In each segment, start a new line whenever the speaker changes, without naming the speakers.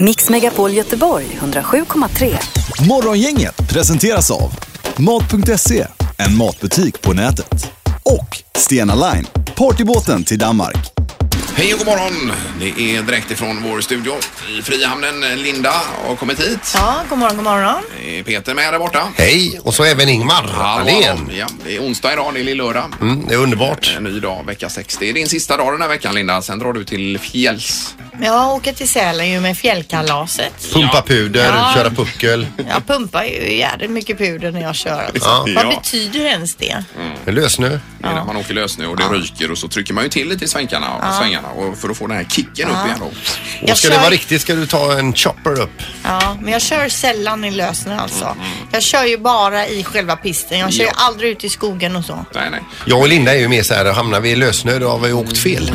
Mix Megapol Göteborg 107,3.
Morgongänget presenteras av Mat.se, en matbutik på nätet. Och Stena Line, partybåten till Danmark.
Hej och god morgon! Det är direkt ifrån vår studio i Frihamnen. Linda har kommit hit.
Ja, god morgon, god morgon.
Eh, Peter med där borta.
Hej! Och så även Ingmar
Hallå, hallå.
Ahlén.
Ja, det är onsdag idag, det är lill-lördag.
Mm, det är underbart.
En ny dag, vecka 6. Det är din sista dag den här veckan Linda. Sen drar du till fjälls.
Jag åker till Sälen ju med fjällkalaset.
Pumpa puder,
Ja.
köra puckel.
Jag pumpar ju jävligt mycket puder när jag kör. Alltså.
Ja.
Vad
Ja.
betyder ens det?
Det är lösnö.
Det är när man åker lös nu och det ryker och så trycker man ju till lite i svängarna, svängarna och för att få den här kicken upp igen. då.
Och
Jag
ska
kör-
det vara riktigt ska du ta en chopper upp.
Ja, men jag kör sällan i lösning alltså. Jag kör ju bara i själva pisten. Jag kör ju
Ja.
aldrig ut i skogen och så.
Nej, nej.
Jag och Linda är ju mer så här, hamnar vi i lösnö då har vi åkt fel.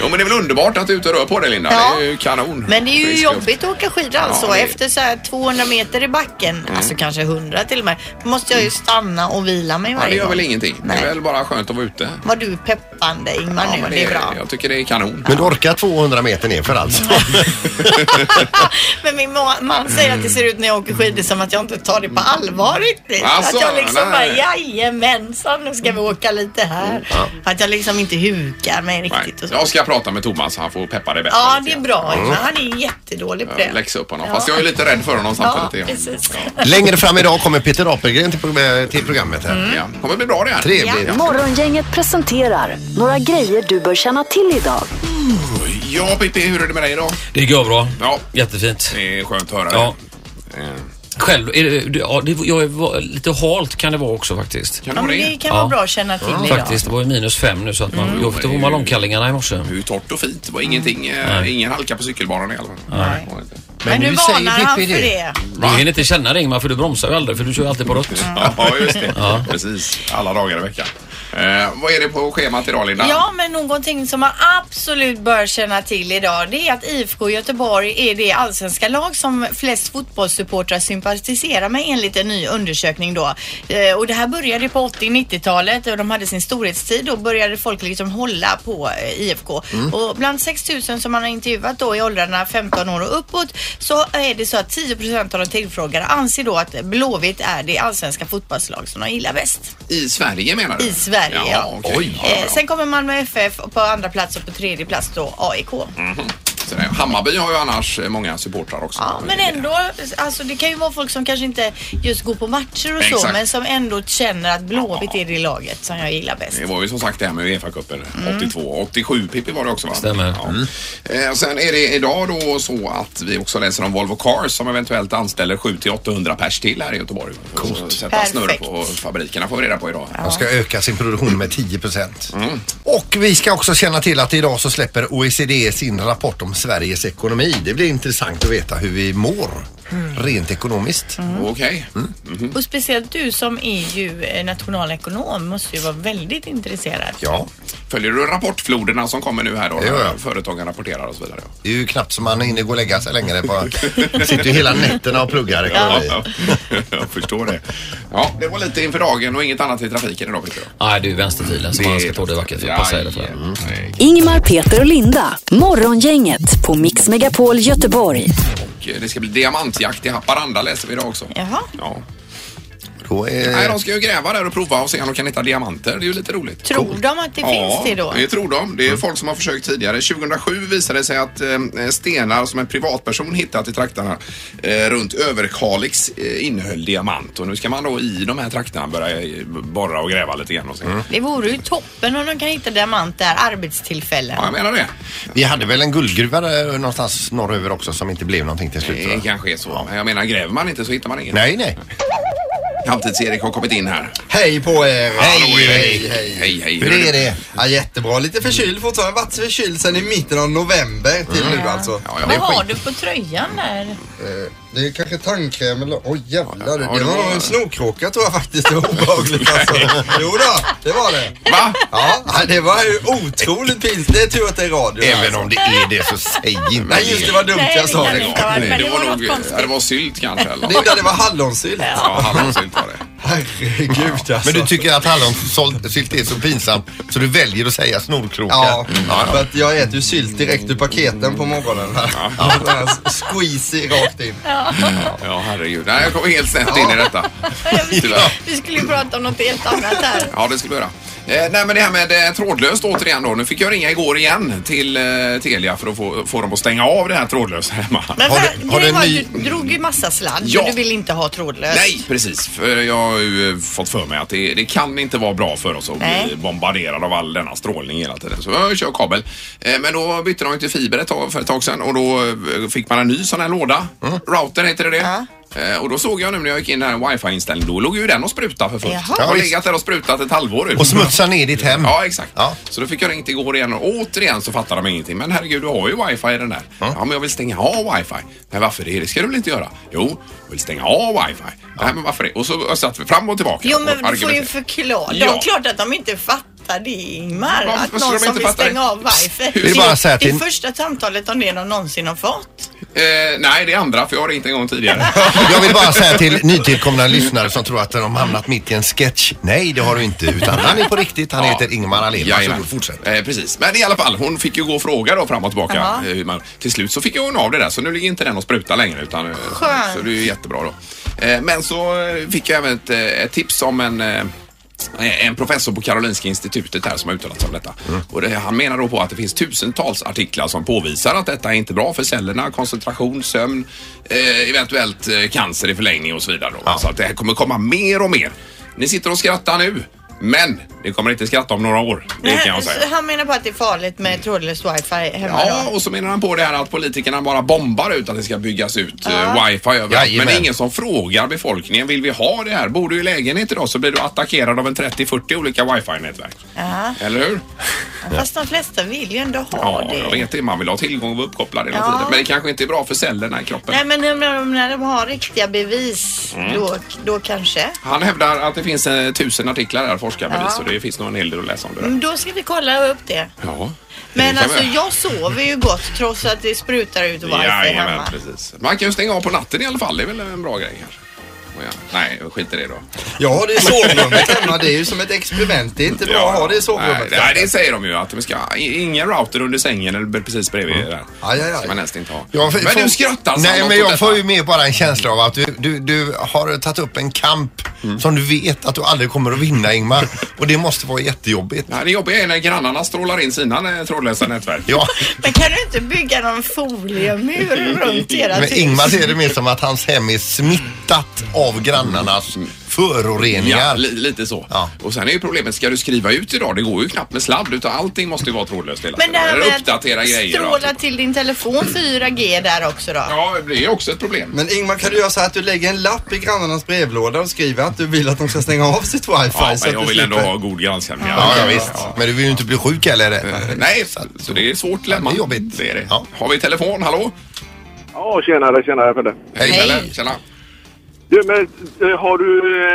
Jo, men det är väl underbart att du är ute och rör på dig Linda.
Ja.
Det är ju kanon.
Men det är ju
Frisk luft.
jobbigt att åka skidor alltså.
det är- Mm.
Efter så här 200 meter i backen, alltså kanske 100 till och med, då måste jag ju stanna och vila mig
Ja, det
varje
gör
gång.
väl ingenting. Det
Nej.
är väl bara skönt att vara ute.
Vad du är peppande Ingmar nu,
men
det är bra.
Jag tycker det är kanon.
Men du orkar 200 meter nerför alltså.
Men min ma- man säger att det ser ut när jag åker skidor som att jag inte tar det på allvar riktigt.
Alltså,
att jag liksom bara
nej. Mm.
jajamensan nu ska vi åka lite här. Att jag liksom inte hukar mig
Nej. Mm.
riktigt och så.
Jag ska prata med Thomas, han får peppa dig bättre.
Ja,
lite
det är
grann.
bra. Ingmar. Han är jättedålig på det.
Jag läxar upp honom. Fast jag är lite rädd för honom
Ja,
samtidigt.
precis.
Längre fram idag kommer Peter Apelgren till, pro- till programmet här.
Mm.
Ja, det kommer bli bra det här.
Trevligt.
Morgongänget presenterar några grejer du bör känna till idag.
Ja, Pippi, hur är det med dig idag?
Det går bra.
Ja.
Jättefint.
Det är skönt att höra
Ja.
det. Eh,
Själv, är det, det- ja, det, jag är, va- lite halt kan det vara också
Kan
faktiskt.
Ja,
det
men
vara det?
det kan vara bra att känna till idag.
Faktiskt, det var ju minus fem nu så att man, jag fick ta på
det är
mig
ju-
långkallingarna i morse.
Det är ju torrt och fint. Det var ingenting, eh, ingen halka på cykelbanan i alla fall.
Mm. Nej. Men,
Men
nu
nu säger
varnar han för
Pippi det.
det.
Du hinner inte känna det Ingmar för du bromsar ju aldrig för du kör ju alltid på rött.
Mm.
Mm.
Ja, just det. Precis. Alla dagar i veckan. Eh, vad är det på schemat idag, Linda?
Ja, men någonting som man absolut bör känna till idag det är att IFK Göteborg är det allsvenska lag som flest fotbollssupportrar sympatiserar med enligt en ny undersökning då. Eh, Och det här började på 80-90-talet och de hade sin storhetstid och började folk liksom hålla på eh, IFK. Och bland 6 000 som man har intervjuat då i åldrarna 15 år och uppåt så är det så att 10 procent av de tillfrågade anser då att Blåvitt är det allsvenska fotbollslag som de gillar bäst.
I Sverige menar du?
I Sverige,
ja.
ja.
okej.
Oj.
Ja, ja,
Eh,
ja.
sen kommer Malmö FF på andra plats och på tredje plats då AIK.
Mm. Sådär. Hammarby har ju annars eh, många supportrar också.
Ja, men ändå, alltså det kan ju vara folk som kanske inte just går på matcher och så,
Exakt.
men som ändå känner att Blåvitt är det laget som jag gillar bäst.
Det var ju som sagt det här med Uefa-cupen 82. 87 Pippi var det också va?
Stämmer. Mm.
Ja. Eh, Sen är det idag då så att vi också läser om Volvo Cars som eventuellt anställer 7 till 800 pers till här i Göteborg. Coolt. Sätta snurr
Perfekt.
på fabrikerna får vi reda på idag.
De ska öka sin produktion med 10 procent.
Mm.
Och vi ska också känna till att idag så släpper OECD sin rapport om Sveriges ekonomi. Det blir intressant att veta hur vi mår
Mm.
rent ekonomiskt.
Okej.
Mm.
Mm.
Och speciellt du som är ju eh, nationalekonom måste ju vara väldigt intresserad.
Ja,
Följer du rapportfloderna som kommer nu här då?
Det gör jag.
Företagen rapporterar och så vidare.
det är ju knappt som man hinner gå och lägga sig längre. På. Sitter ju hela nätterna och pluggar ekonomi.
Ja, jag förstår det. Ja, det var lite inför dagen och inget annat i trafiken idag Pippi. då.
Nej, det är ju vänsterfilen som man ska ta det vackert för. Passa er för det.
Jajamän. Nej,
Ingmar, Peter och Linda. Morgongänget på Mix Megapol Göteborg.
Och Det ska bli diamantjakt i Haparanda läser vi idag också.
Jaha.
Ja.
Då
Eh.
Nej,
är...
de ska ju gräva där och prova och se om de kan hitta diamanter. Det är ju lite roligt.
Tror de att det Typ finns det då?
det tror de.
Mm.
Det är folk som har försökt tidigare. 2007 visade det sig att eh, stenar som en privatperson hittat i trakterna eh, runt Överkalix eh, innehöll diamant. Och nu ska man då i de här trakterna börja eh, borra och gräva lite grann och se.
Mm.
Det vore ju toppen om de kan hitta diamant där, arbetstillfällen.
Ja, jag menar det.
Vi hade väl en guldgruva där någonstans norröver också som inte blev någonting till slut.
Det
va?
kanske är så. Men Jag menar, gräver man inte så hittar man inget.
Nej, nej.
Halvtids-Erik har kommit in här.
Hej på er!
Hallå, Erik.
hej, hej!
Hej, hej.
Hur är det? Ja, jättebra. Lite förkyld fortfarande. Varit förkyld sedan i mitten av november till nu alltså.
Ja, ja.
Vad har du på tröjan där?
Eh, Det är kanske tandkräm eller... Oj jävlar.
Ja,
det,
det
var
var-
nog en snorkråka tror jag faktiskt. Det var obehagligt alltså. Jo då, det var det.
Va?
Ja, nej, det var ju otroligt pinsamt. Det är tur att det är radio.
Även
alltså.
om det är det så säg inte
Nej just det, var dumt
Nej, det
jag sa
kan
det.
inte vara. Men
det
det var
var
något
nog...
konstigt.
ja, Det var sylt kanske. Eller?
Det, det var hallonsylt.
Ja, hallonsylt var det.
Herregud alltså.
Men du tycker att hallonsylt är så pinsam så du väljer att säga snorkråka?
Ja, för att jag äter ju sylt direkt ur paketen på morgonen. Här. Ja. Squeezy rakt in.
Ja, herregud. Nej, jag kom helt snett in i detta.
Vi skulle,
Tyvärr.
vi skulle ju prata om något helt annat här.
Ja, det ska vi göra. Eh, nej, men det här med eh, trådlöst återigen då. Nu fick jag ringa igår igen till eh, Telia för att få, få dem att stänga av det här trådlösa hemma.
Men
Har
har
du- har du
du, var,
en
du drog ju massa sladd
Ja.
för du vill inte ha trådlöst.
Nej, precis. För jag har ju eh, fått för mig att det, det kan inte vara bra för oss att
Nej.
bli bombarderade av all denna strålning hela tiden. Så jag kör kabel. Eh, Men då bytte de ju till fiber ett tag, för ett tag sedan och då eh, fick man en ny sån här låda. Router heter det. det. Eh, Och då såg jag nu när jag gick in i den här wifi-inställningen, då låg ju den och sprutade för fullt.
Jaha.
Jag
Ja,
har
visst.
legat där och sprutat ett halvår. ut.
Och smutsa ner ditt hem.
Ja, exakt.
Ja.
Så då fick jag ringt igår igen och återigen så fattar de ingenting. Men herregud, du har ju wifi i den där. Ja, men jag vill stänga av wifi. Men varför det? Det ska du väl inte göra? Jo, jag vill stänga av wifi. Nej, men varför det? Och så satt vi fram och tillbaka.
Jo
och
men du får ju
argumenterade.
förklara.
Ja.
Det är klart att de inte fattar det Ingmar.
Varför
Att
skulle de
någon som
inte
vill
fatta
stänga
det?
av wifi.
Det är bara att säga att
det är
det-
första samtalet om det de någonsin har fått.
Eh, nej, det är andra, för jag har ringt en gång tidigare.
Jag vill bara säga till nytillkomna lyssnare som tror att de hamnat mitt i en sketch. Nej, det har du inte. Utan han är på riktigt. Han heter Ingmar Ahlén.
Jajamän.
Varsågod, fortsätt.
Eh, precis. Men i alla fall, hon fick ju gå och fråga då fram och tillbaka.
Jaha.
eh, hur man- Till slut så fick hon av det där, så nu ligger inte den och sprutar längre. Utan, eh,
Skönt.
Så det är ju jättebra då. Eh, Men så eh, fick jag även ett, eh, ett tips om en eh, en professor på Karolinska institutet här som har uttalat sig om detta. Och det, han menar då på att det finns tusentals artiklar som påvisar att detta är inte bra för cellerna, koncentration, sömn, eh, eventuellt eh, cancer i förlängning och så vidare. Då. Så att det här kommer komma mer och mer. Ni sitter och skrattar nu, men ni kommer inte skratta om några år. Det kan jag säga. Mm.
Så Han menar på att det är farligt med trådlöst wifi hemma
Ja,
då.
och så menar han på det här att politikerna bara bombar ut att det ska byggas ut eh, wifi överallt. Men
Jajamän.
det är ingen som frågar befolkningen, vill vi ha det här? Bor du i lägenhet idag så blir du attackerad av en 30-40 olika wifi-nätverk.
Ja.
Eller hur?
Fast de flesta vill ju ändå ha
Ja,
det.
jag vet det. Man vill ha tillgång och vara uppkopplad hela
Ja.
tiden. Men det kanske inte är bra för cellerna i kroppen.
Nej men när de, när de har riktiga bevis
Mm.
då, då kanske.
Han hävdar att det finns eh, tusen artiklar där, forskarbevis,
Ja.
och det finns nog en hel del att läsa om det där.
Mm, Då ska vi kolla upp det.
Ja.
Men
Det kan
alltså
vi-
jag sover ju gott trots att det sprutar ut wifi
Jajamän,
hemma.
precis. Man kan ju stänga av på natten i alla fall. Det är väl en bra grej kanske. Oh, ja. Nej, skit i det då.
Ja, det är sovrummet hemma. Det är ju som ett experiment. Det är inte bra att ha det i sovrummet.
Nej, nej, det säger de ju att vi ska i- ingen router under sängen eller precis bredvid. där.
Aj, aj, aj.
ska man helst inte ha.
Jag f-
men
får-
du skrattar
Nej,
Sandholt, åt
men jag
detta.
får ju med bara en känsla av att du, du, du har tagit upp en kamp
Mm.
som du vet att du aldrig kommer att vinna, Ingmar. Och det måste vara jättejobbigt.
Nej, det jobbiga är när grannarna strålar in sina eh, trådlösa nätverk.
Ja,
Men kan du inte bygga någon foliemur runt era
men
hus?
Ingmar ser det mer som att hans hem är smittat av grannarnas
Mm. Ja,
föroreningar.
li, lite så.
Ja.
Och sen är ju problemet, ska du skriva ut idag? Det går ju knappt med sladd utan allting måste ju vara trådlöst hela
Men det
tiden.
här
Eller
med
uppdatera
att
grejer och
stråla
allting.
till din telefon 4G där också då.
Ja, det är ju också ett problem.
Men Ingmar, kan du göra så här att du lägger en lapp i grannarnas brevlåda och skriver att du vill att de ska stänga av sitt wifi? så
ja,
att
men
du
jag vill ändå
slipper-
ha god grannsämja.
Ja, ja, visst. Men du vill ju inte bli sjuk heller.
Nej, så det är ett svårt dilemma.
Ja, det är jobbigt.
Det är det.
Ja.
Har vi telefon? Hallå?
Ja, tjenare, tjenare Pelle.
Hej,
Hej.
Pelle. Tjena.
Du, men eh, har du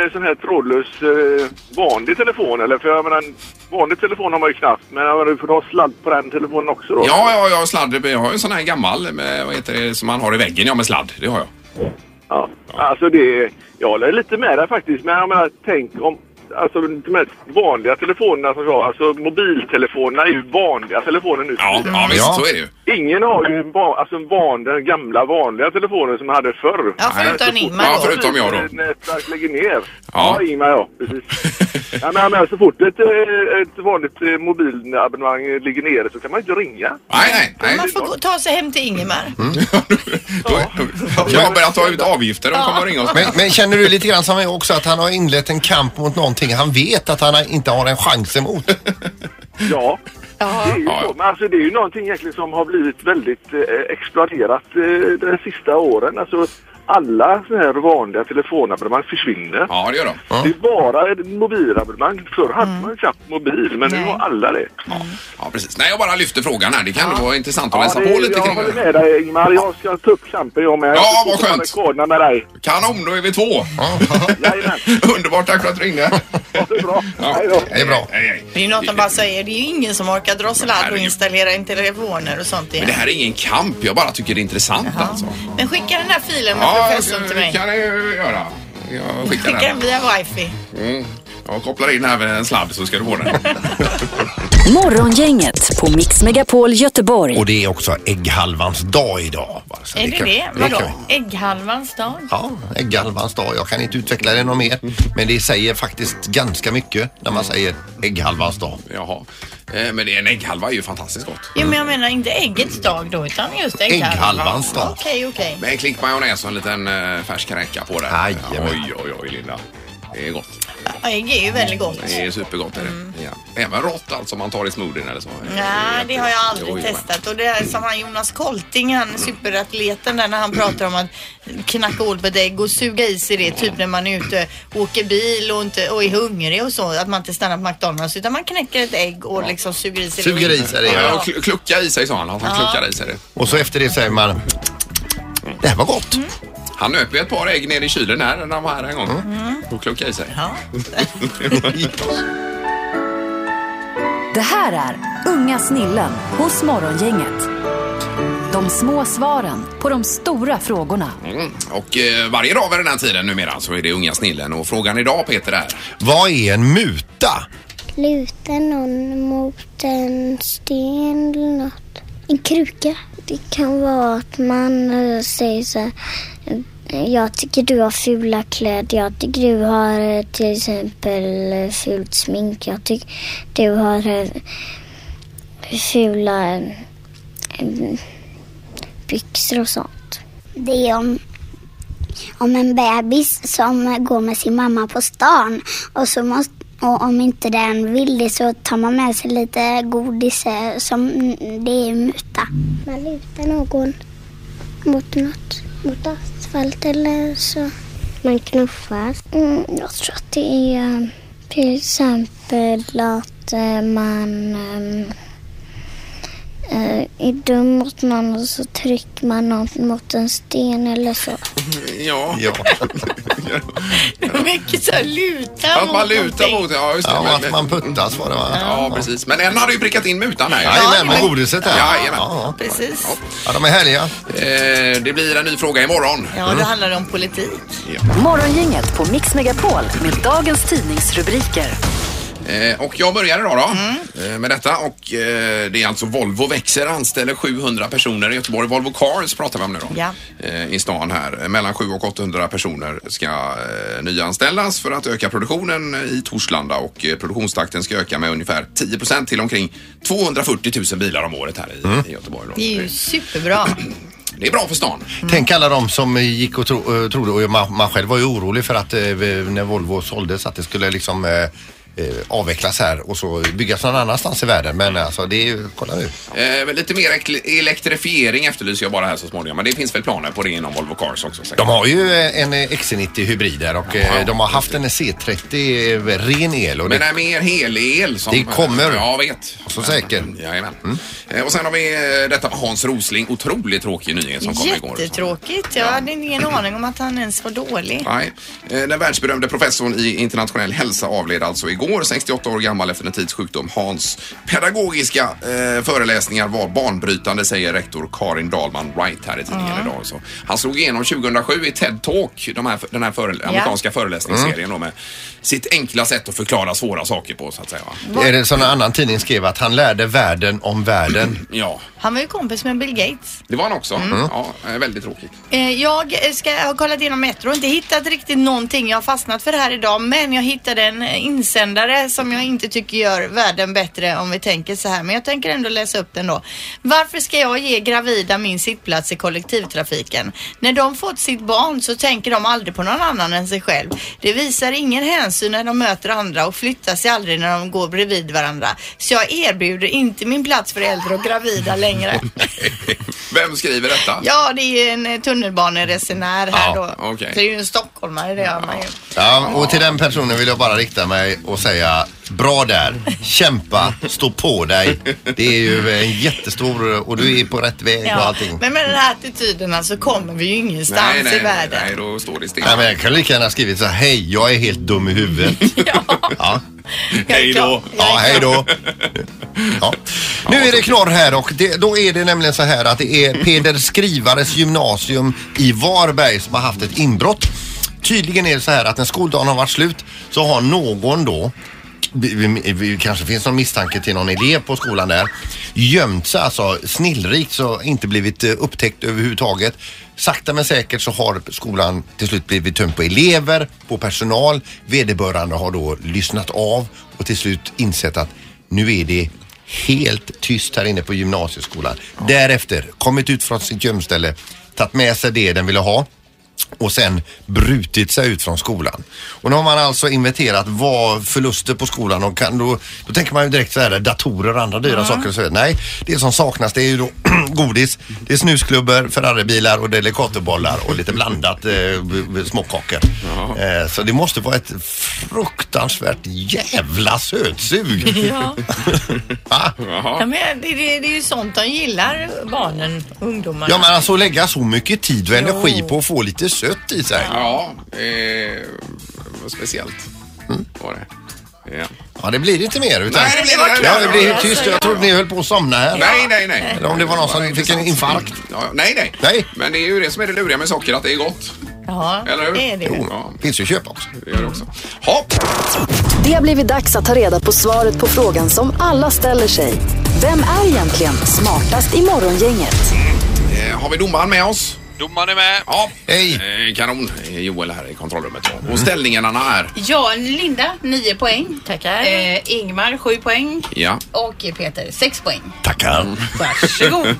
eh, sån här trådlös eh, vanlig telefon eller? För jag menar, en vanlig telefon har man ju knappt. Men jag menar, du får ha sladd på den telefonen också då?
Ja, ja, jag har sladd. Jag har ju en sån här gammal, med, vad heter det, som man har i väggen. Ja, med sladd. Det har jag.
ja. Alltså det, jag håller lite med dig faktiskt. Men jag menar, tänk om... Alltså de här vanliga telefonerna som vi har, alltså mobiltelefonerna är ju vanliga telefoner nu.
Ja, ja visst,
Ja.
så är det ju.
Ingen har ju en, va- alltså en van, den gamla vanliga telefonen som man hade förr.
Ja, förutom
Nej, så fort-
Ingmar
Ja,
då.
förutom- jag då.
Nätverk lägger ner.
Ja.
Ja, Ingmar ja. Precis. ja, men, men så fort ett, eh, ett vanligt eh, mobilabonnemang eh, ligger nere så kan man ju inte ringa.
Nej, nej,
Man
nej.
får gå- ta sig hem till Ingemar.
Mm.
Då, då, jag har börjat ta ut avgifter. De kommer att ringa oss.
Men, men känner du lite grann som jag också att han har inlett en kamp mot någonting han vet att han inte har en chans emot?
Ja.
Ja.
Det är ju
Ja, ja.
så. Men alltså det är ju någonting egentligen som har blivit väldigt eh, exploaterat eh, de sista åren. Alltså alla sådana här vanliga telefonabonnemang försvinner.
Ja, det gör de.
Det är bara ett mobilabonnemang. Förr hade man ju knappt mobil, men nu
Mm. Nej.
har alla det.
Ja, precis. Nej, jag bara lyfter frågan här. Det kan vara intressant att läsa
det-
på lite
jag
kring
håller
det.
med dig Ingmar. Jag ska ta upp kampen jag med. Jag
Ja,
ska
vad
ta
skönt.
rekorderna med dig.
Kanon, då är vi två.
Jajamän.
Underbart, tack för att du ringde.
Det är bra.
Ja.
Hej då.
Det är bra.
Hej, hej.
Det är ju något de bara säger. Det är ju ingen som orkar dra sladd och
herregud.
installera in telefoner och sånt
Men det
igen.
här är ingen kamp. Jag bara tycker det är intressant alltså.
Men skicka den här filen med
Ja,
professorn till
det
mig.
kan jag ju göra. Jag skickar
Skicka
den.
den via wifi.
Mm. Jag kopplar in här med en sladd så ska du få den.
Morgongänget på Mix Megapol Göteborg.
Och det är också ägghalvans dag idag. va? Så
Är det
kan-
det? Vadå?
kan-
Ägghalvans dag?
Ja, ägghalvans dag. Jag kan inte utveckla det något mer. Men det säger faktiskt ganska mycket när man säger ägghalvans dag.
Jaha. Eh, Men det- en ägghalva är ju fantastiskt gott.
Jo, men jag menar inte äggets dag då, utan just ägghalvans,
Ägghalvans dag.
Okej, okej.
Med en klink majonnäs och en liten eh, färsk räka på det.
Jajamän.
Oj, oj, oj, Linda. Det är gott.
Ja, Ägg är ju väldigt gott.
Det är
Mm.
supergott. Är det. Ja. Även rått alltså, om man tar i smoothien eller så.
Mm.
Nej, det har jag aldrig
Jo, jo, men.
testat. Och det är som han Jonas Kolting,
Mm.
han superatleten där när han pratar om att knacka hål på ett ägg och suga i sig det, typ när man är ute och åker bil och, inte, och är hungrig och så. Att man inte stannar på McDonalds utan man knäcker ett ägg och liksom suger i sig
Suger i sig det,
Ja, och kl- klucka i sig sa han. Att han kluckade i sig det.
Och så efter det säger man det här var gott.
Han nöp ju ett par ägg ner i kylen här när han var här en gång.
Mm.
Och kluckade i sig.
Ja.
Det här är Unga snillen hos Morgongänget. De små svaren på de stora frågorna.
Mm. Och eh, varje dag vid den här tiden numera så är det unga snillen. Och frågan idag Peter är.
Vad är en muta?
Lutar någon mot en sten eller något? En kruka? Det kan vara att man eh, säger så här, eh, jag tycker du har fula kläder, jag tycker du har eh, till exempel eh, fult smink, jag tycker du har eh, fula eh, eh, byxor och sånt. Det är om om en bebis som går med sin mamma på stan och, så måste, och om inte den vill det så tar man med sig lite godis eh, som det är muta. Man lutar någon mot något, mot asfalt eller så. Man knuffas. Mm, jag tror att det är eh, till exempel att eh, man ehm, eh, är dum mot någon och så trycker man någon mot en sten eller så.
Ja.
Ja,
Mycket så här luta
Att man lutar
någonting.
mot det. Ja, just det.
ja
Men-
att man puttas var det va?
Ja, precis. Men en hade ju prickat in mutan här.
Jajamän, med godiset där.
Jajamän.
Ja,
Precis.
ja, de är härliga.
Eh, det blir en ny fråga imorgon.
Ja, det handlar om politik.
Morgongänget på Mix Megapol med dagens tidningsrubriker.
Eh, och jag börjar idag då
Mm.
eh, med detta och eh, det är alltså Volvo växer, anställer 700 personer i Göteborg. Volvo Cars pratar vi om nu då.
Ja.
Eh, I stan här. Mellan 700 och 800 personer ska eh, nyanställas för att öka produktionen i Torslanda och eh, produktionstakten ska öka med ungefär 10 procent till omkring 240 000 bilar om året här i, i Göteborg. Då.
Det är ju superbra.
Det är bra för stan.
Tänk alla de som gick och tro, eh, trodde, och man, man själv var ju orolig för att eh, när Volvo såldes att det skulle liksom eh, eh, avvecklas här och så byggas någon annanstans i världen. Men alltså det är ju, kolla nu.
Eh, men lite mer ek- elektrifiering efterlyser jag bara här så småningom. Men det finns väl planer på det inom Volvo Cars också. säkert.
De har ju eh, en eh, XC90 hybrider och eh,
Ja.
de har haft en C30 eh, ren el. Och
Men det
det,
är mer helel som...
Det kommer.
Ja, vet.
Så säker. Mm.
Jajamän. Eh, Och sen har vi eh, detta med Hans Rosling. Otroligt tråkig nyhet som kom igår.
Jättetråkigt. Jag hade ingen aning om att han ens var dålig.
Nej. Eh, Den världsberömde professorn i internationell hälsa avled alltså igår, 68 år gammal efter en tids sjukdom. Hans pedagogiska eh, föreläsningar var banbrytande, säger rektor Karin Dahlman Wright här i tidningen idag. Så han slog igenom 2007 i TED Talk, de här, den här före, amerikanska föreläsningsserien
Mm.
då, med sitt enkla sätt att förklara svåra saker på, så att säga. va?
är det som en annan tidning skrev att han lärde världen om världen.
Ja,
Han var ju kompis med Bill Gates.
det var han också.
Mm.
Ja, eh, väldigt tråkigt.
Eh, Jag eh, ska, jag har kollat igenom Metro och inte hittat riktigt någonting jag har fastnat för här idag men jag hittade en eh, insändare som jag inte tycker gör världen bättre om vi tänker så här men jag tänker ändå läsa upp den då. Varför ska jag ge gravida min sittplats i kollektivtrafiken? När de fått sitt barn så tänker de aldrig på någon annan än sig själv. Det visar ingen hänsyn när de möter andra och flyttar sig aldrig när de går bredvid varandra. Så jag erbjuder inte min plats för äldre och gravida längre.
Vem skriver detta?
Ja, det är ju en eh, tunnelbaneresenär här
Ja,
då.
okej.
Så det är ju en stockholmare det gör man ju.
Ja, och till den personen vill jag bara rikta mig och säga bra där, kämpa, stå på dig. Det är ju en jättestor och du är på rätt väg och
Ja.
allting.
Men med den här attityderna så kommer vi ju ingenstans
nej, nej,
i världen.
Nej, då står det still.
Nej, men jag kan lika gärna skrivit så här, hej jag är helt dum i huvudet. Ja.
Jag är
Hej
klar.
då.
Ja, hej då. Ja. Nu är det knorr här och det, då är det nämligen så här att det är Peder Skrivares gymnasium i Varberg som har haft ett inbrott. Tydligen är det så här att när skoldagen har varit slut så har någon då vi, vi, vi, kanske finns någon misstanke till någon elev på skolan där. Gömt sig alltså snillrikt så inte blivit eh, upptäckt överhuvudtaget. Sakta men säkert så har skolan till slut blivit tömd på elever, på personal. Vederbörande har då lyssnat av och till slut insett att nu är det helt tyst här inne på gymnasieskolan. Därefter kommit ut från sitt gömställe, tagit med sig det den ville ha och sen brutit sig ut från skolan. Och nu har man alltså inventerat vad förluster på skolan och kan då, då tänker man ju direkt så här datorer och andra dyra saker och så vidare. Nej, det som saknas det är ju då godis, det är snusklubbor, Ferraribilar och delikatobollar och lite blandat eh, b- b- småkakor. Eh, så det måste vara ett fruktansvärt jävla sötsug.
Ja.
Va?
Ja, men det, det, det är ju sånt de gillar, barnen, ungdomarna.
Ja men alltså lägga så mycket tid och energi på att få lite sött i sig.
Ja, eh, vad speciellt
Mm.
var det. Ja.
Ja det blir inte mer utan...
Nej, det blir det.
Ja, det blir helt tyst. Jag trodde ni höll på att somna här.
Nej, nej, nej.
Eller om det var någon som fick en infarkt.
Ja, nej, nej,
Nej.
Men det är ju det som är det luriga med socker, att det är gott.
Ja,
Eller hur?
det är det.
Jo. Ja,
Finns ju att köpa också.
det gör det också. Hopp.
Det har blivit dags att ta reda på svaret på frågan som alla ställer sig. Vem är egentligen smartast i Morgongänget?
Eh, har vi domaren med oss?
Domaren är med.
Ja.
Hej!
Eh, kanon. Eh, Joel här i kontrollrummet. Och ställningarna är?
Ja, Linda 9 poäng.
Tackar.
Eh, Ingmar 7 poäng.
Ja.
Och Peter 6 poäng.
Tackar.
Varsågod.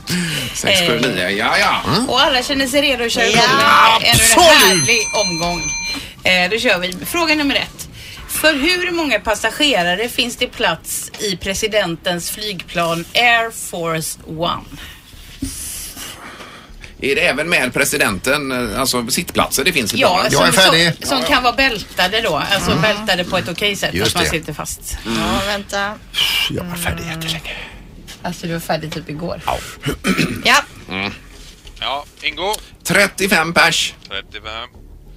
6, 7, 9. Ja, ja.
eh,
Ah.
Och alla känner sig redo att köra igång
Ja,
en härlig omgång. Eh, då kör vi. Fråga nummer ett. För hur många passagerare finns det plats i presidentens flygplan Air Force One?
Är det även med presidenten, eh, alltså sittplatser det finns i planen?
Jag är färdig.
Som, som kan vara bältade då. Alltså bältade på ett okej sätt.
Just
att man
det.
sitter fast.
Ja, vänta.
Jag var färdig jättelänge.
Alltså du var färdig typ igår.
Ja,
Ja, Ingo.
35 pers.
35.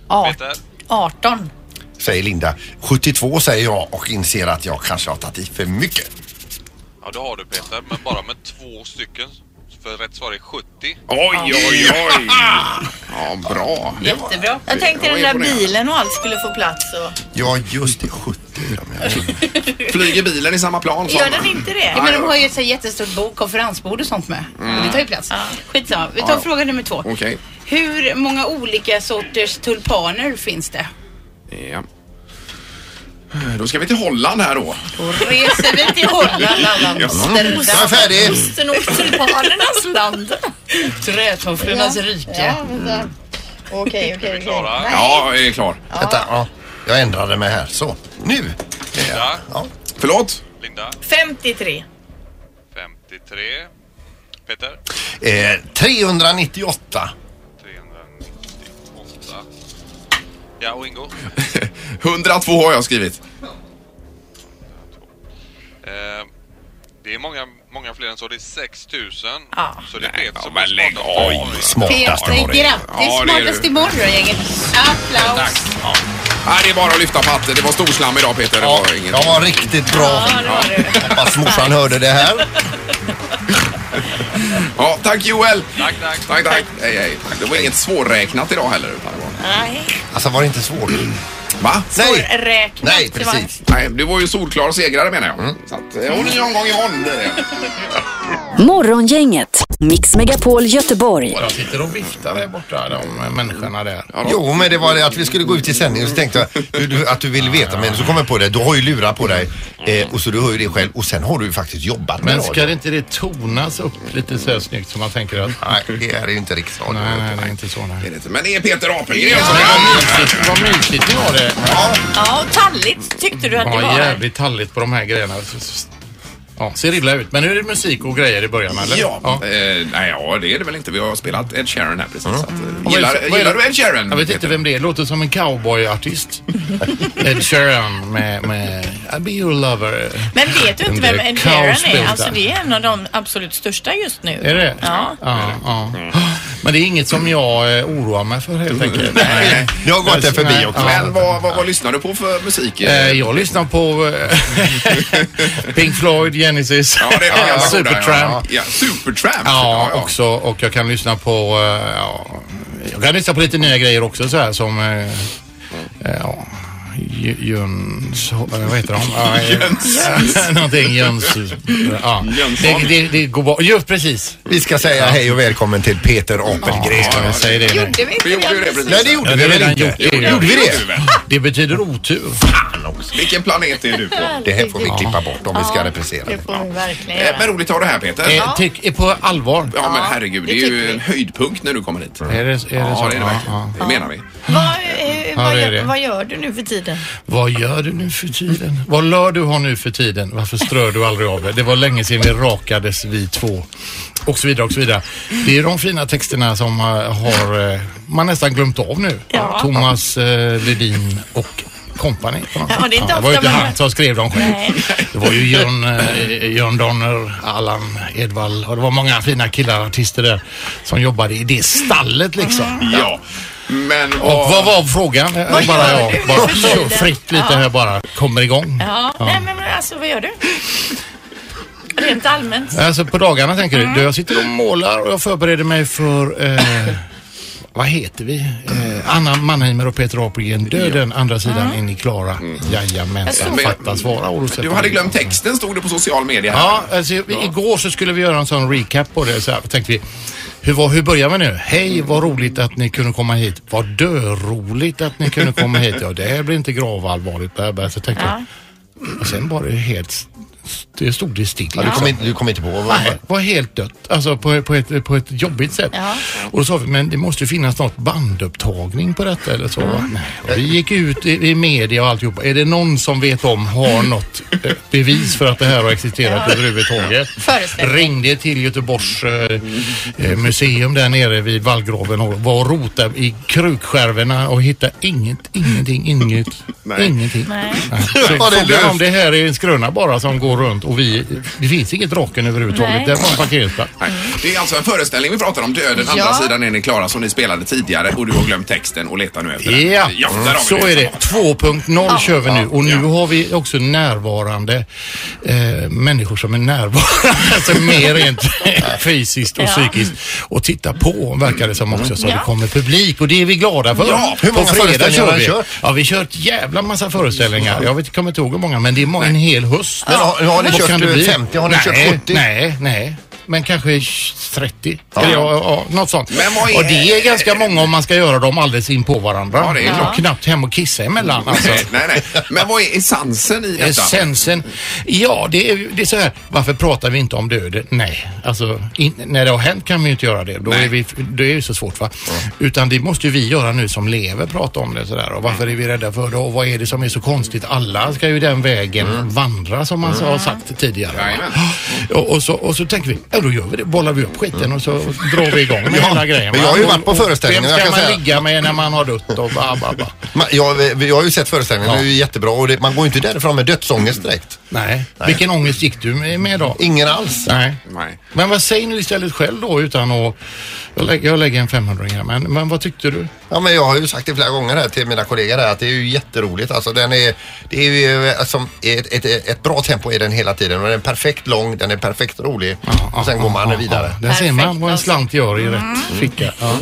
art-
Peter.
18.
Säger Linda. 72 säger jag och inser att jag kanske har tagit i för mycket.
Ja, det har du Peter, men bara med två stycken. För rätt svar är 70.
Oj, oj, oj. Ja, bra.
Jättebra.
Jag tänkte
Jag
den
är
där
imponerad.
bilen och allt skulle få plats. Och...
Ja just det, 70 är de ja.
Flyger bilen i samma plan? sa
Gör
man?
den inte
Ja,
det?
men de har ju ett så här jättestort bord, konferensbord och sånt med. Och det tar ju plats. Skitsamma. Vi tar
Ja.
fråga nummer två.
Okej.
Hur många olika sorters tulpaner finns det?
Ja. Eh, Då ska vi till Holland här då.
Då reser vi till Holland, alla
Jag är färdig.
Osten och tulpanernas land.
Trätofflornas rike.
Mm. Okej, okej, okej.
Klara.
Ja, jag är klar.
Vänta, ja. Jag ändrade mig här. Så, nu.
Linda.
Ja.
Förlåt?
Linda.
53.
53. Peter.
Eh, 398.
398. Ja, och Ingo.
102 har jag skrivit.
Eh, det är många, många fler än så. Det är 6000.
Ja.
Så det är Peter som
Ah, men
är
lägg
smartast.
av.
Oj.
Smartaste
Peter,
morgon.
grattis!
Ja, det är
Smartast
du.
i morgongänget. Applaus!
Nej, det är bara att lyfta på hatten. Det var storslam idag Peter. Det
Ja,
var inget.
jag var riktigt bra.
Ja, det var du.
Hoppas morsan hörde det här.
Ja, tack Joel!
Tack, tack.
Tack, tack. Hej, hej. Det var inget svårräknat idag heller. Utan det var...
Nej,
Alltså var det inte svårt?
Va?
Nej,
räknat.
nej
Det var-
precis.
Nej, du var ju solklar segrare menar jag. Så att, eh, och ny omgång imorgon blir det.
Morgongänget, Mix Megapol Göteborg.
De sitter och viftar där borta, de människorna där.
Jo, men det var det att vi skulle gå ut i sändning och så tänkte jag du, du, att du vill veta men så kom jag på det. Du har ju lurar på dig eh, och så du hör ju det själv och sen har du ju faktiskt jobbat med
Men ska
radio.
det inte det tonas upp lite så här snyggt så man tänker att...
Nej, det här är ju inte riksradio.
Nej, nej, det är inte så.
Det
Nej.
är det inte. Men det är Peter Apelgren som
Vad
är
mysigt- Vad mysigt ni har det.
Ja, och talligt tyckte du att det
Ja,
var.
jävligt talligt på de här grejerna. Ja, ser illa ut. Men nu är det musik och grejer i början, eller?
Ja, Eh, nej, ja, det är det väl inte. Vi har spelat Ed Sheeran här precis. Så att, eh,
Vad är det-
gillar
vad är det-
gillar du Ed Sheeran?
Jag vet inte vem det är. Låter som en cowboyartist. Ed Sheeran med, med I be your lover.
Men vet du inte
Under
vem Ed Sheeran är?
kaosbilden.
Alltså det är en av de absolut största just nu.
Är det
Ja.
ja, ja. Men det är inget som jag eh, oroar mig för helt enkelt. Nej.
Jag har gått där förbi
Nej,
också.
Men vad, vad, vad lyssnar du på för musik?
Eh, Jag lyssnar på eh, Pink Floyd, Genesis,
Ja, det är de gamla goda, Ja,
Supertramp.
ja, Supertramp.
Ja, också. Och jag kan lyssna på... eh, ja, Jag kan lyssna på lite nya grejer också så här som... eh, Ja. J- Jöns... Vad heter de? Ja, eh,
Jöns.
Någonting Jöns... eh, Ja. Det, det, det går bra. Just precis.
Vi ska säga hej och välkommen till Peter Apelgren.
Ja, jag säger det nu.
Gjorde vi inte det precis?
Nej, det gjorde
Ja,
vi
det
väl
redan
inte?
gjort.
Gjorde, vi det?
Det betyder otur.
Vilken planet är du på?
Det här får vi klippa bort om vi ska reprisera.
Det får vi verkligen
Eh, Men roligt att ha det här Peter.
Eh, tyck, på allvar.
Ja men herregud, det är ju en höjdpunkt när du kommer hit. Är
det, är det
ja,
så?
det är det
Ja,
verkligen.
ja.
Det menar vi.
Vad, eh,
Ja,
vad,
det är
gör,
det.
vad gör du nu för tiden?
Vad gör du nu för tiden? Vad lör du har nu för tiden? Varför strör du aldrig av dig? Det var länge sedan vi rakades vi två. Och så vidare och så vidare. Det är de fina texterna som eh, har eh, man nästan glömt av nu.
Ja.
Thomas eh, Ledin och company. på något
Ja,
sätt.
det är inte
det
ofta
var ju inte
man-
han som skrev dem själv.
Nej.
Det var ju Jörn, eh, Jörn Donner, Allan Edwall och det var många fina killar, artister där som jobbade i det stallet liksom.
Ja. Men
Och vad var frågan?
Mm. Vad
bara
gör
jag
du?
bara
Vad gör du?
kör fritt lite
Ja.
här bara kommer igång.
Ja, nej men alltså vad gör du? Rent allmänt.
Alltså på dagarna tänker
Mm.
du? du? Jag sitter och målar och jag förbereder mig för eh, vad heter vi? Eh, Anna Mannheimer och Peter Apelgren. Döden, andra sidan in i Klara. Jajamensan, fattas vara Olof
Mm. Du hade glömt texten stod det på social media. här.
Ja, alltså, vi- igår så skulle vi göra en sån recap på det. Så här, tänkte vi, hur, var, hur börjar vi nu? Hej, vad roligt att ni kunde komma hit. Vad dörroligt att ni kunde komma hit. Ja, det här blir inte gravallvarligt. Bla, bla. Så tänkte jag. Och sen var det helt... st- Det stod det still.
Ja, du kom inte- du kom inte på vad-
Nej, var helt dött. Alltså på, på, ett, på ett jobbigt sätt. Och då sa vi, men det måste ju finnas något bandupptagning på detta eller så. va? Nej. Och Vi gick ut i, i media och alltihopa. Är det någon som vet om, har något eh, bevis för att det här har existerat
Ja.
överhuvudtaget? Ringde till Göteborgs eh, eh, museum där nere vid vallgraven och var och rotade i krukskärvorna och hittade inget, ingenting, inget, ingenting.
Nej.
Nej.
Ja,
Så
det är löst.
Frågan om det här är en skröna bara som går runt och vi, det finns inget Draken överhuvudtaget.
Nej.
Det var en parkeringsplats.
Det är alltså en föreställning vi pratar om, Döden, andra
Ja.
sidan är ni klara, som ni spelade tidigare och du har glömt texten och letar nu efter den.
Ja,
där har vi
så är det. 2.0 kör vi nu och nu har vi också närvarande eh, människor som är närvarande, alltså mer rent fysiskt och
Ja.
psykiskt. Och titta på verkar det som också så
Ja.
det kommer publik och det är vi glada för.
Ja, hur
På
många
fredag
föreställningar
kör
har ni
vi?
kört?
Ja, vi har kört jävla massa föreställningar. Jag vet, kommer inte ihåg hur många men det är en hel höst.
Men har- har ni
Vad
kört,
kan det
eh,
bli?
50? Har ni
nej,
kört 70?
Nej, nej. Men kanske 30. Eller, ja, ja, något sånt.
Men vad är-
Och det är ganska många om man ska göra dem alldeles in på varandra.
Ja, det är klart.
Knappt hem och kissa emellan alltså.
Nej, nej, nej. Men vad är essensen i detta?
Essensen, ja det är, det är så här, varför pratar vi inte om döden? Nej, alltså in, när det har hänt kan vi ju inte göra det. Då är vi, det är ju så svårt va. Utan det måste ju vi göra nu som lever, prata om det sådär. Och varför är vi rädda för det? Och vad är det som är så konstigt? Alla ska ju den vägen vandra som man
Mm.
har sagt tidigare. va? Och, och, så, och så tänker vi, ja då gör vi det. Bollar vi upp skiten och så drar vi igång med
Mm. Ja,
hela grejen.
men
va?
jag har ju
Och-
varit på
och
föreställningen,
Vem
jag
ska
kan
man
säga.
ligga med när man har dött och ba, ba, ba.
Man, jag, eh, jag har ju sett föreställningen, den är ju jättebra och det, man går ju inte därifrån med dödsångest direkt.
Nej. Vilken ångest gick du med med då?
Ingen alls.
Nej. Men vad säger nu istället själv då utan att... Jag, lä- jag lägger en 500 här, men, men vad tyckte du?
Ja, men jag har ju sagt det flera gånger här till mina kollegor här att det är ju jätteroligt. Alltså, den är, det är ju eh, som ett, ett, ett bra tempo är den hela tiden och den är perfekt lång, den är perfekt rolig och sen går man vidare.
Där ser man vad en slant gör i rätt ficka. Ja.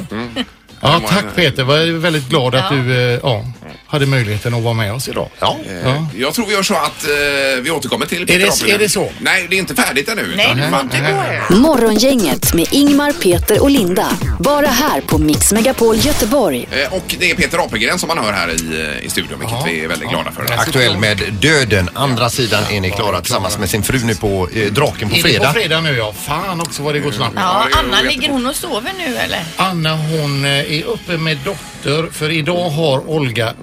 Ja, tack Peter. Jag är väldigt glad att du eh, ja, hade möjligheten att vara med oss idag.
Ja.
Eh, Jag tror vi gör så att eh, vi återkommer till
Är det-
Apelgren.
är det så?
Nej, det är inte färdigt ännu.
Nej,
utan-
det får inte
Nej.
Morgongänget med Ingmar, Peter och Linda. Bara här på Mix Megapol Göteborg.
Eh, Och det är Peter Apelgren som man hör här i, i studion, vilket vi är väldigt glada för.
Aktuell med Döden, andra sidan är ni klara tillsammans med sin fru nu på eh, Draken på
Är det
fredag.
på fredag nu ja? Fan också vad det går snabbt.
Ja, Anna, ligger hon och sover nu eller?
Anna hon eh, är uppe med dotter för idag har Olga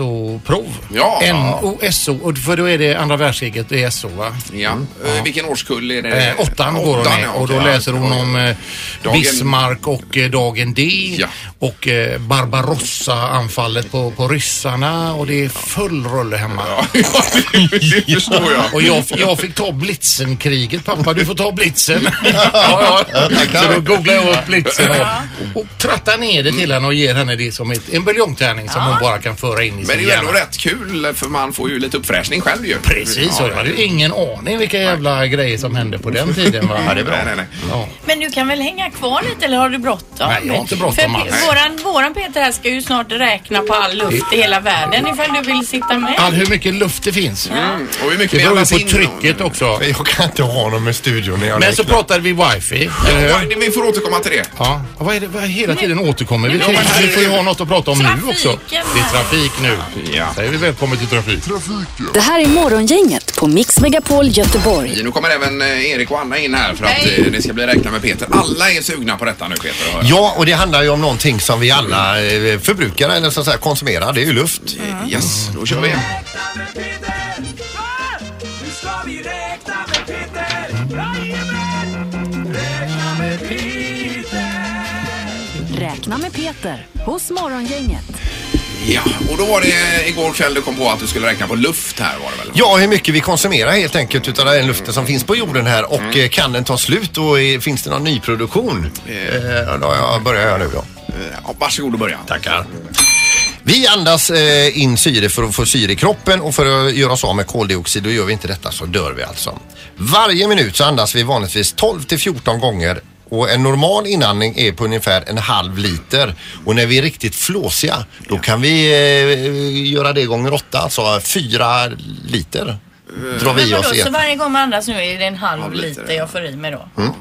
SO-prov.
Ja.
NO-SO och för då är det andra världskriget, det är SO va? Mm.
Ja. Eh, Vilken årskull är det?
Eh, åttan går hon
Åttan,
med
ja,
och då
okej.
läser hon om eh,
Dagen-
Bismarck och eh, Dagen D och eh, Barbarossa-anfallet på, på ryssarna och det är full rulle hemma.
det förstår jag.
Och jag, jag fick ta Blitzen-kriget. Pappa, du får ta Blitzen.
Mm.
ja, ja. Så då googlade jag upp Blitzen och, och trattade ner det till henne och ger henne det som som ett, en buljongtärning som hon bara kan föra in i
Men
sin
det är ju
hjärna.
ändå rätt kul för man får ju lite uppfräschning själv ju.
Precis, och jag hade ju ingen aning vilka jävla grejer som hände på den tiden. Va?
Ja, det är bra. Mm. Nej, nej, nej.
Ja.
Men du kan väl hänga kvar lite eller har du bråttom?
Nej, jag har inte bråttom
För
alls.
Våran, våran Peter här ska ju snart räkna på all luft i hela världen ifall du vill sitta med.
All, hur mycket luft det finns.
Mm. Och hur mycket
det
vi
beror
andas
ju
in
på trycket också.
Jag kan inte ha honom i studion när jag
Men så
räknar.
pratade vi wifi, eller
Ja,
hur?
Vi får återkomma till det.
Ja, Och vad är det, vad hela tiden återkommer vi
Nej,
till?
men-
Vi får ju ha något att prata om nu också.
Trafiken.
Det är trafik nu.
Ja.
Säger vi välkommen till trafik.
Det här är Morgongänget på Mix Megapol Göteborg.
Nu kommer även eh, Erik och Anna in här för att eh, det ska bli räkna med Peter. Alla är sugna på detta nu Peter. hör jag.
Ja, och det handlar ju om någonting som vi alla eh, förbrukar eller så att säga konsumerar. Det är ju luft.
Mm.
Yes, då kör vi.
Räkna med Peter hos Morgongänget.
Ja, och då var det igår kväll du kom på att du skulle räkna på luft här var det väl?
Ja, hur mycket vi konsumerar helt enkelt utav den luften som finns på jorden här och
Mm.
eh, kan den ta slut och eh, finns det någon nyproduktion? Eh, då har jag börjar jag nu då.
Ja, varsågod och börja.
Tackar. Vi andas eh, in syre för att få syre i kroppen och för att göra oss av med koldioxid och gör vi inte detta så dör vi alltså. Varje minut så andas vi vanligtvis 12 till 14 gånger och en normal inandning är på ungefär en halv liter och när vi är riktigt flåsiga då kan vi eh, göra det gånger åtta, alltså fyra liter drar vi
Eh, Vadå,
oss i.
så varje gång man andas nu är det en halv
Halv liter,
liter, jag får i mig då?
Mm.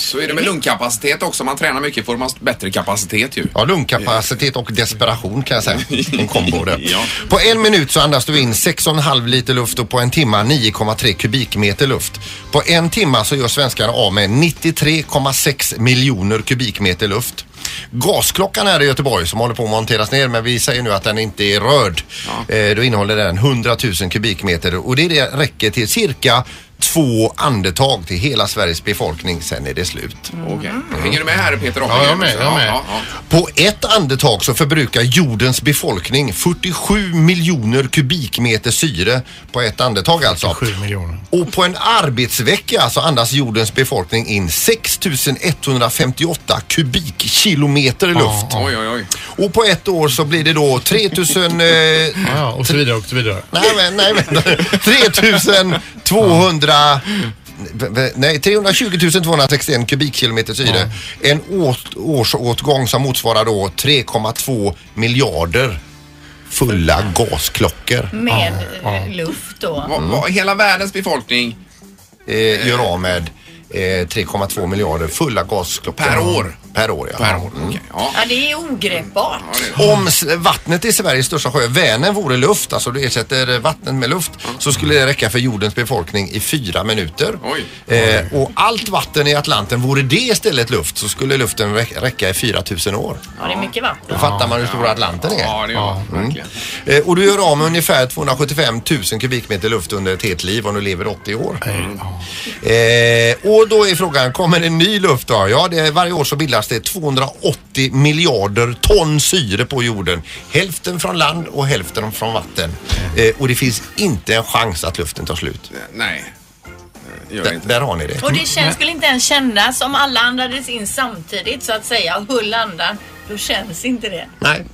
Så är det med lungkapacitet också. Man tränar mycket får man bättre kapacitet ju.
Ja, lungkapacitet och desperation kan jag säga. En kombo där.
Ja.
På en minut så andas du in 6,5 liter luft och på en timma 9,3 kubikmeter luft. På en timma så gör svenskarna av med 93,6 miljoner kubikmeter luft. Gasklockan här i Göteborg som håller på att monteras ner men vi säger nu att den inte är rörd. Eh, då innehåller den 100 000 kubikmeter och det det räcker till cirka två andetag till hela Sveriges befolkning. Sen är det slut.
Okej. Hänger du med här Peter?
Mm. Ja, jag är med, jag är med.
Ja, ja,
På ett andetag så förbrukar jordens befolkning 47 miljoner kubikmeter syre på ett andetag alltså.
47 miljoner.
Och på en arbetsvecka så andas jordens befolkning in 6158 kubikkilometer luft.
ja. Oj, oj, oj.
Och på ett år så blir det då 3000... Eh,
Ja, och så vidare och så vidare.
nej, men, nej, vänta. 3200... Nej, 320 261 kubikkilometer syre. En åt, årsåtgång som motsvarar då 3,2 miljarder fulla gasklockor.
Med eh, luft då?
Vad- vad- Hela världens befolkning
Eh, gör av med eh, 3,2 miljarder fulla gasklockor.
Per år?
Per år, ja.
per år. Okej, ja.
Ja, det är ogreppbart.
Om s- vattnet i Sveriges största sjö, Vänern, vore luft, alltså du ersätter vattnet med luft,
Mm.
så skulle det räcka för jordens befolkning i fyra minuter.
Oj.
Eh, och allt vatten i Atlanten, vore det istället luft så skulle luften rä- räcka i 4000 år.
Ja, det är mycket vatten.
Då fattar man hur stor Atlanten är.
Ja, det gör man
Mm.
verkligen.
Eh, och du gör av med ungefär 275 000 kubikmeter luft under ett helt liv om du lever 80 år. Mm. Eh, och då är frågan, kommer det ny luft då? Ja, det är, varje år så bildas det 280 miljarder ton syre på jorden. Hälften från land och hälften från vatten. Eh, och det finns inte en chans att luften tar slut.
Nej, det gör det
Där,
inte.
där har ni det.
Och
Mm.
det känns, skulle inte ens kännas om alla andades in samtidigt så att säga. och Hull andan, då känns inte det.
Nej.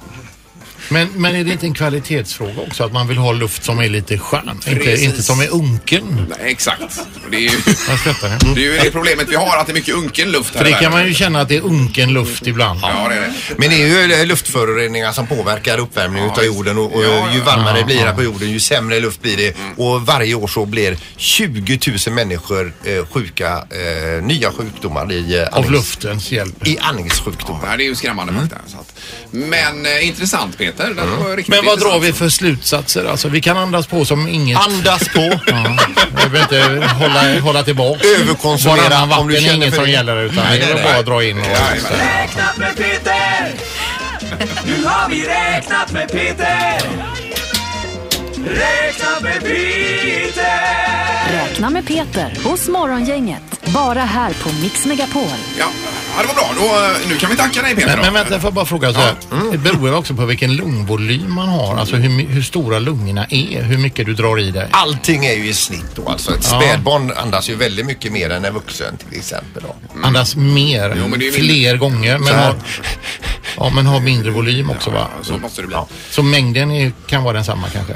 Men, men är det inte en kvalitetsfråga också att man vill ha luft som är lite skön? Inte,
Precis.
inte som är unken.
Nej, exakt. Och Det är, ju,
Jag skrattar. ja.
det är ju det problemet vi har, att det är mycket unken luft här
För
i
det kan man
världen.
ju känna att det är unken luft ibland.
Ja, det är det.
Men det är ju luftföroreningar som påverkar uppvärmningen utav jorden och, och
Ja, ja. Mm.
ju varmare det blir här på jorden ju sämre luft blir det och varje år så blir 20 000 människor eh, sjuka, eh, nya sjukdomar i, eh,
Av
andnings-
luftens hjälp.
i andningssjukdomar.
Ja, det är ju skrämmande
Mm.
fakta. Så att, men eh, intressant Peter. Det var riktigt
Men vad drar
intressant.
vi för slutsatser? Alltså, vi kan andas på som inget.
Andas på,
Ja, jag behöver inte hålla, hålla tillbaka.
Överkonsumera
Varannan
om
vatten
du
är
känner
inget
för
som
det.
gäller utan
Nej,
det
nej,
är väl bara
nej.
att dra in och...
Ja, jajamän.
Räknat med Peter! Nu har vi räknat med Peter! Räknat med Peter!
Räkna med Peter hos Morgongänget. Bara här på Mix Megapol.
ja, ja, det var bra. Då, eh, nu kan vi tacka dig Peter.
Men,
då.
men vänta, får jag bara fråga så här.
Mm.
Det beror ju också på vilken lungvolym man har. Alltså hur, my- hur stora lungorna är. Hur mycket du drar i dig.
allting är ju i snitt då alltså. Ett spädbarn andas ju väldigt mycket mer än en vuxen till exempel. Då.
Andas mer,
men det är ju
fler gånger. Men
Så här.
har, Ja, men har mindre volym också va?
så måste det bli.
Så mängden är, kan vara densamma kanske?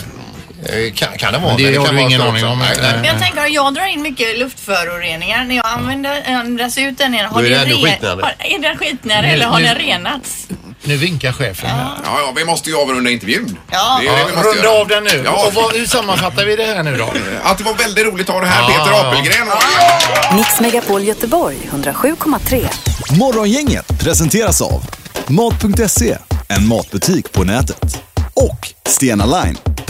Eh, Kan, kan det
vara. Det,
men det
har
kan
du
vara
ingen
så
aning
också.
om.
Nej, nej.
Men jag tänker att jag drar in mycket luftföroreningar när jag använder, andas ut den igen. Har
Då är
ni
det ännu
ren-
skitnare.
har- Är den skitnare
Nu-
eller har
nu-
den renats?
Nu vinkar chefen här.
Ja, ja, vi måste ju avrunda intervjun.
Ja.
Det är det vi måste
runda
göra.
av den nu.
Ja.
Och vad, hur sammanfattar vi det här nu då?
Att det var väldigt roligt att ha det här, Peter
Ja.
Apelgren.
Mix Megapol Göteborg 107,3.
Morgongänget presenteras av Mat.se, en matbutik på nätet. Och Stena Line,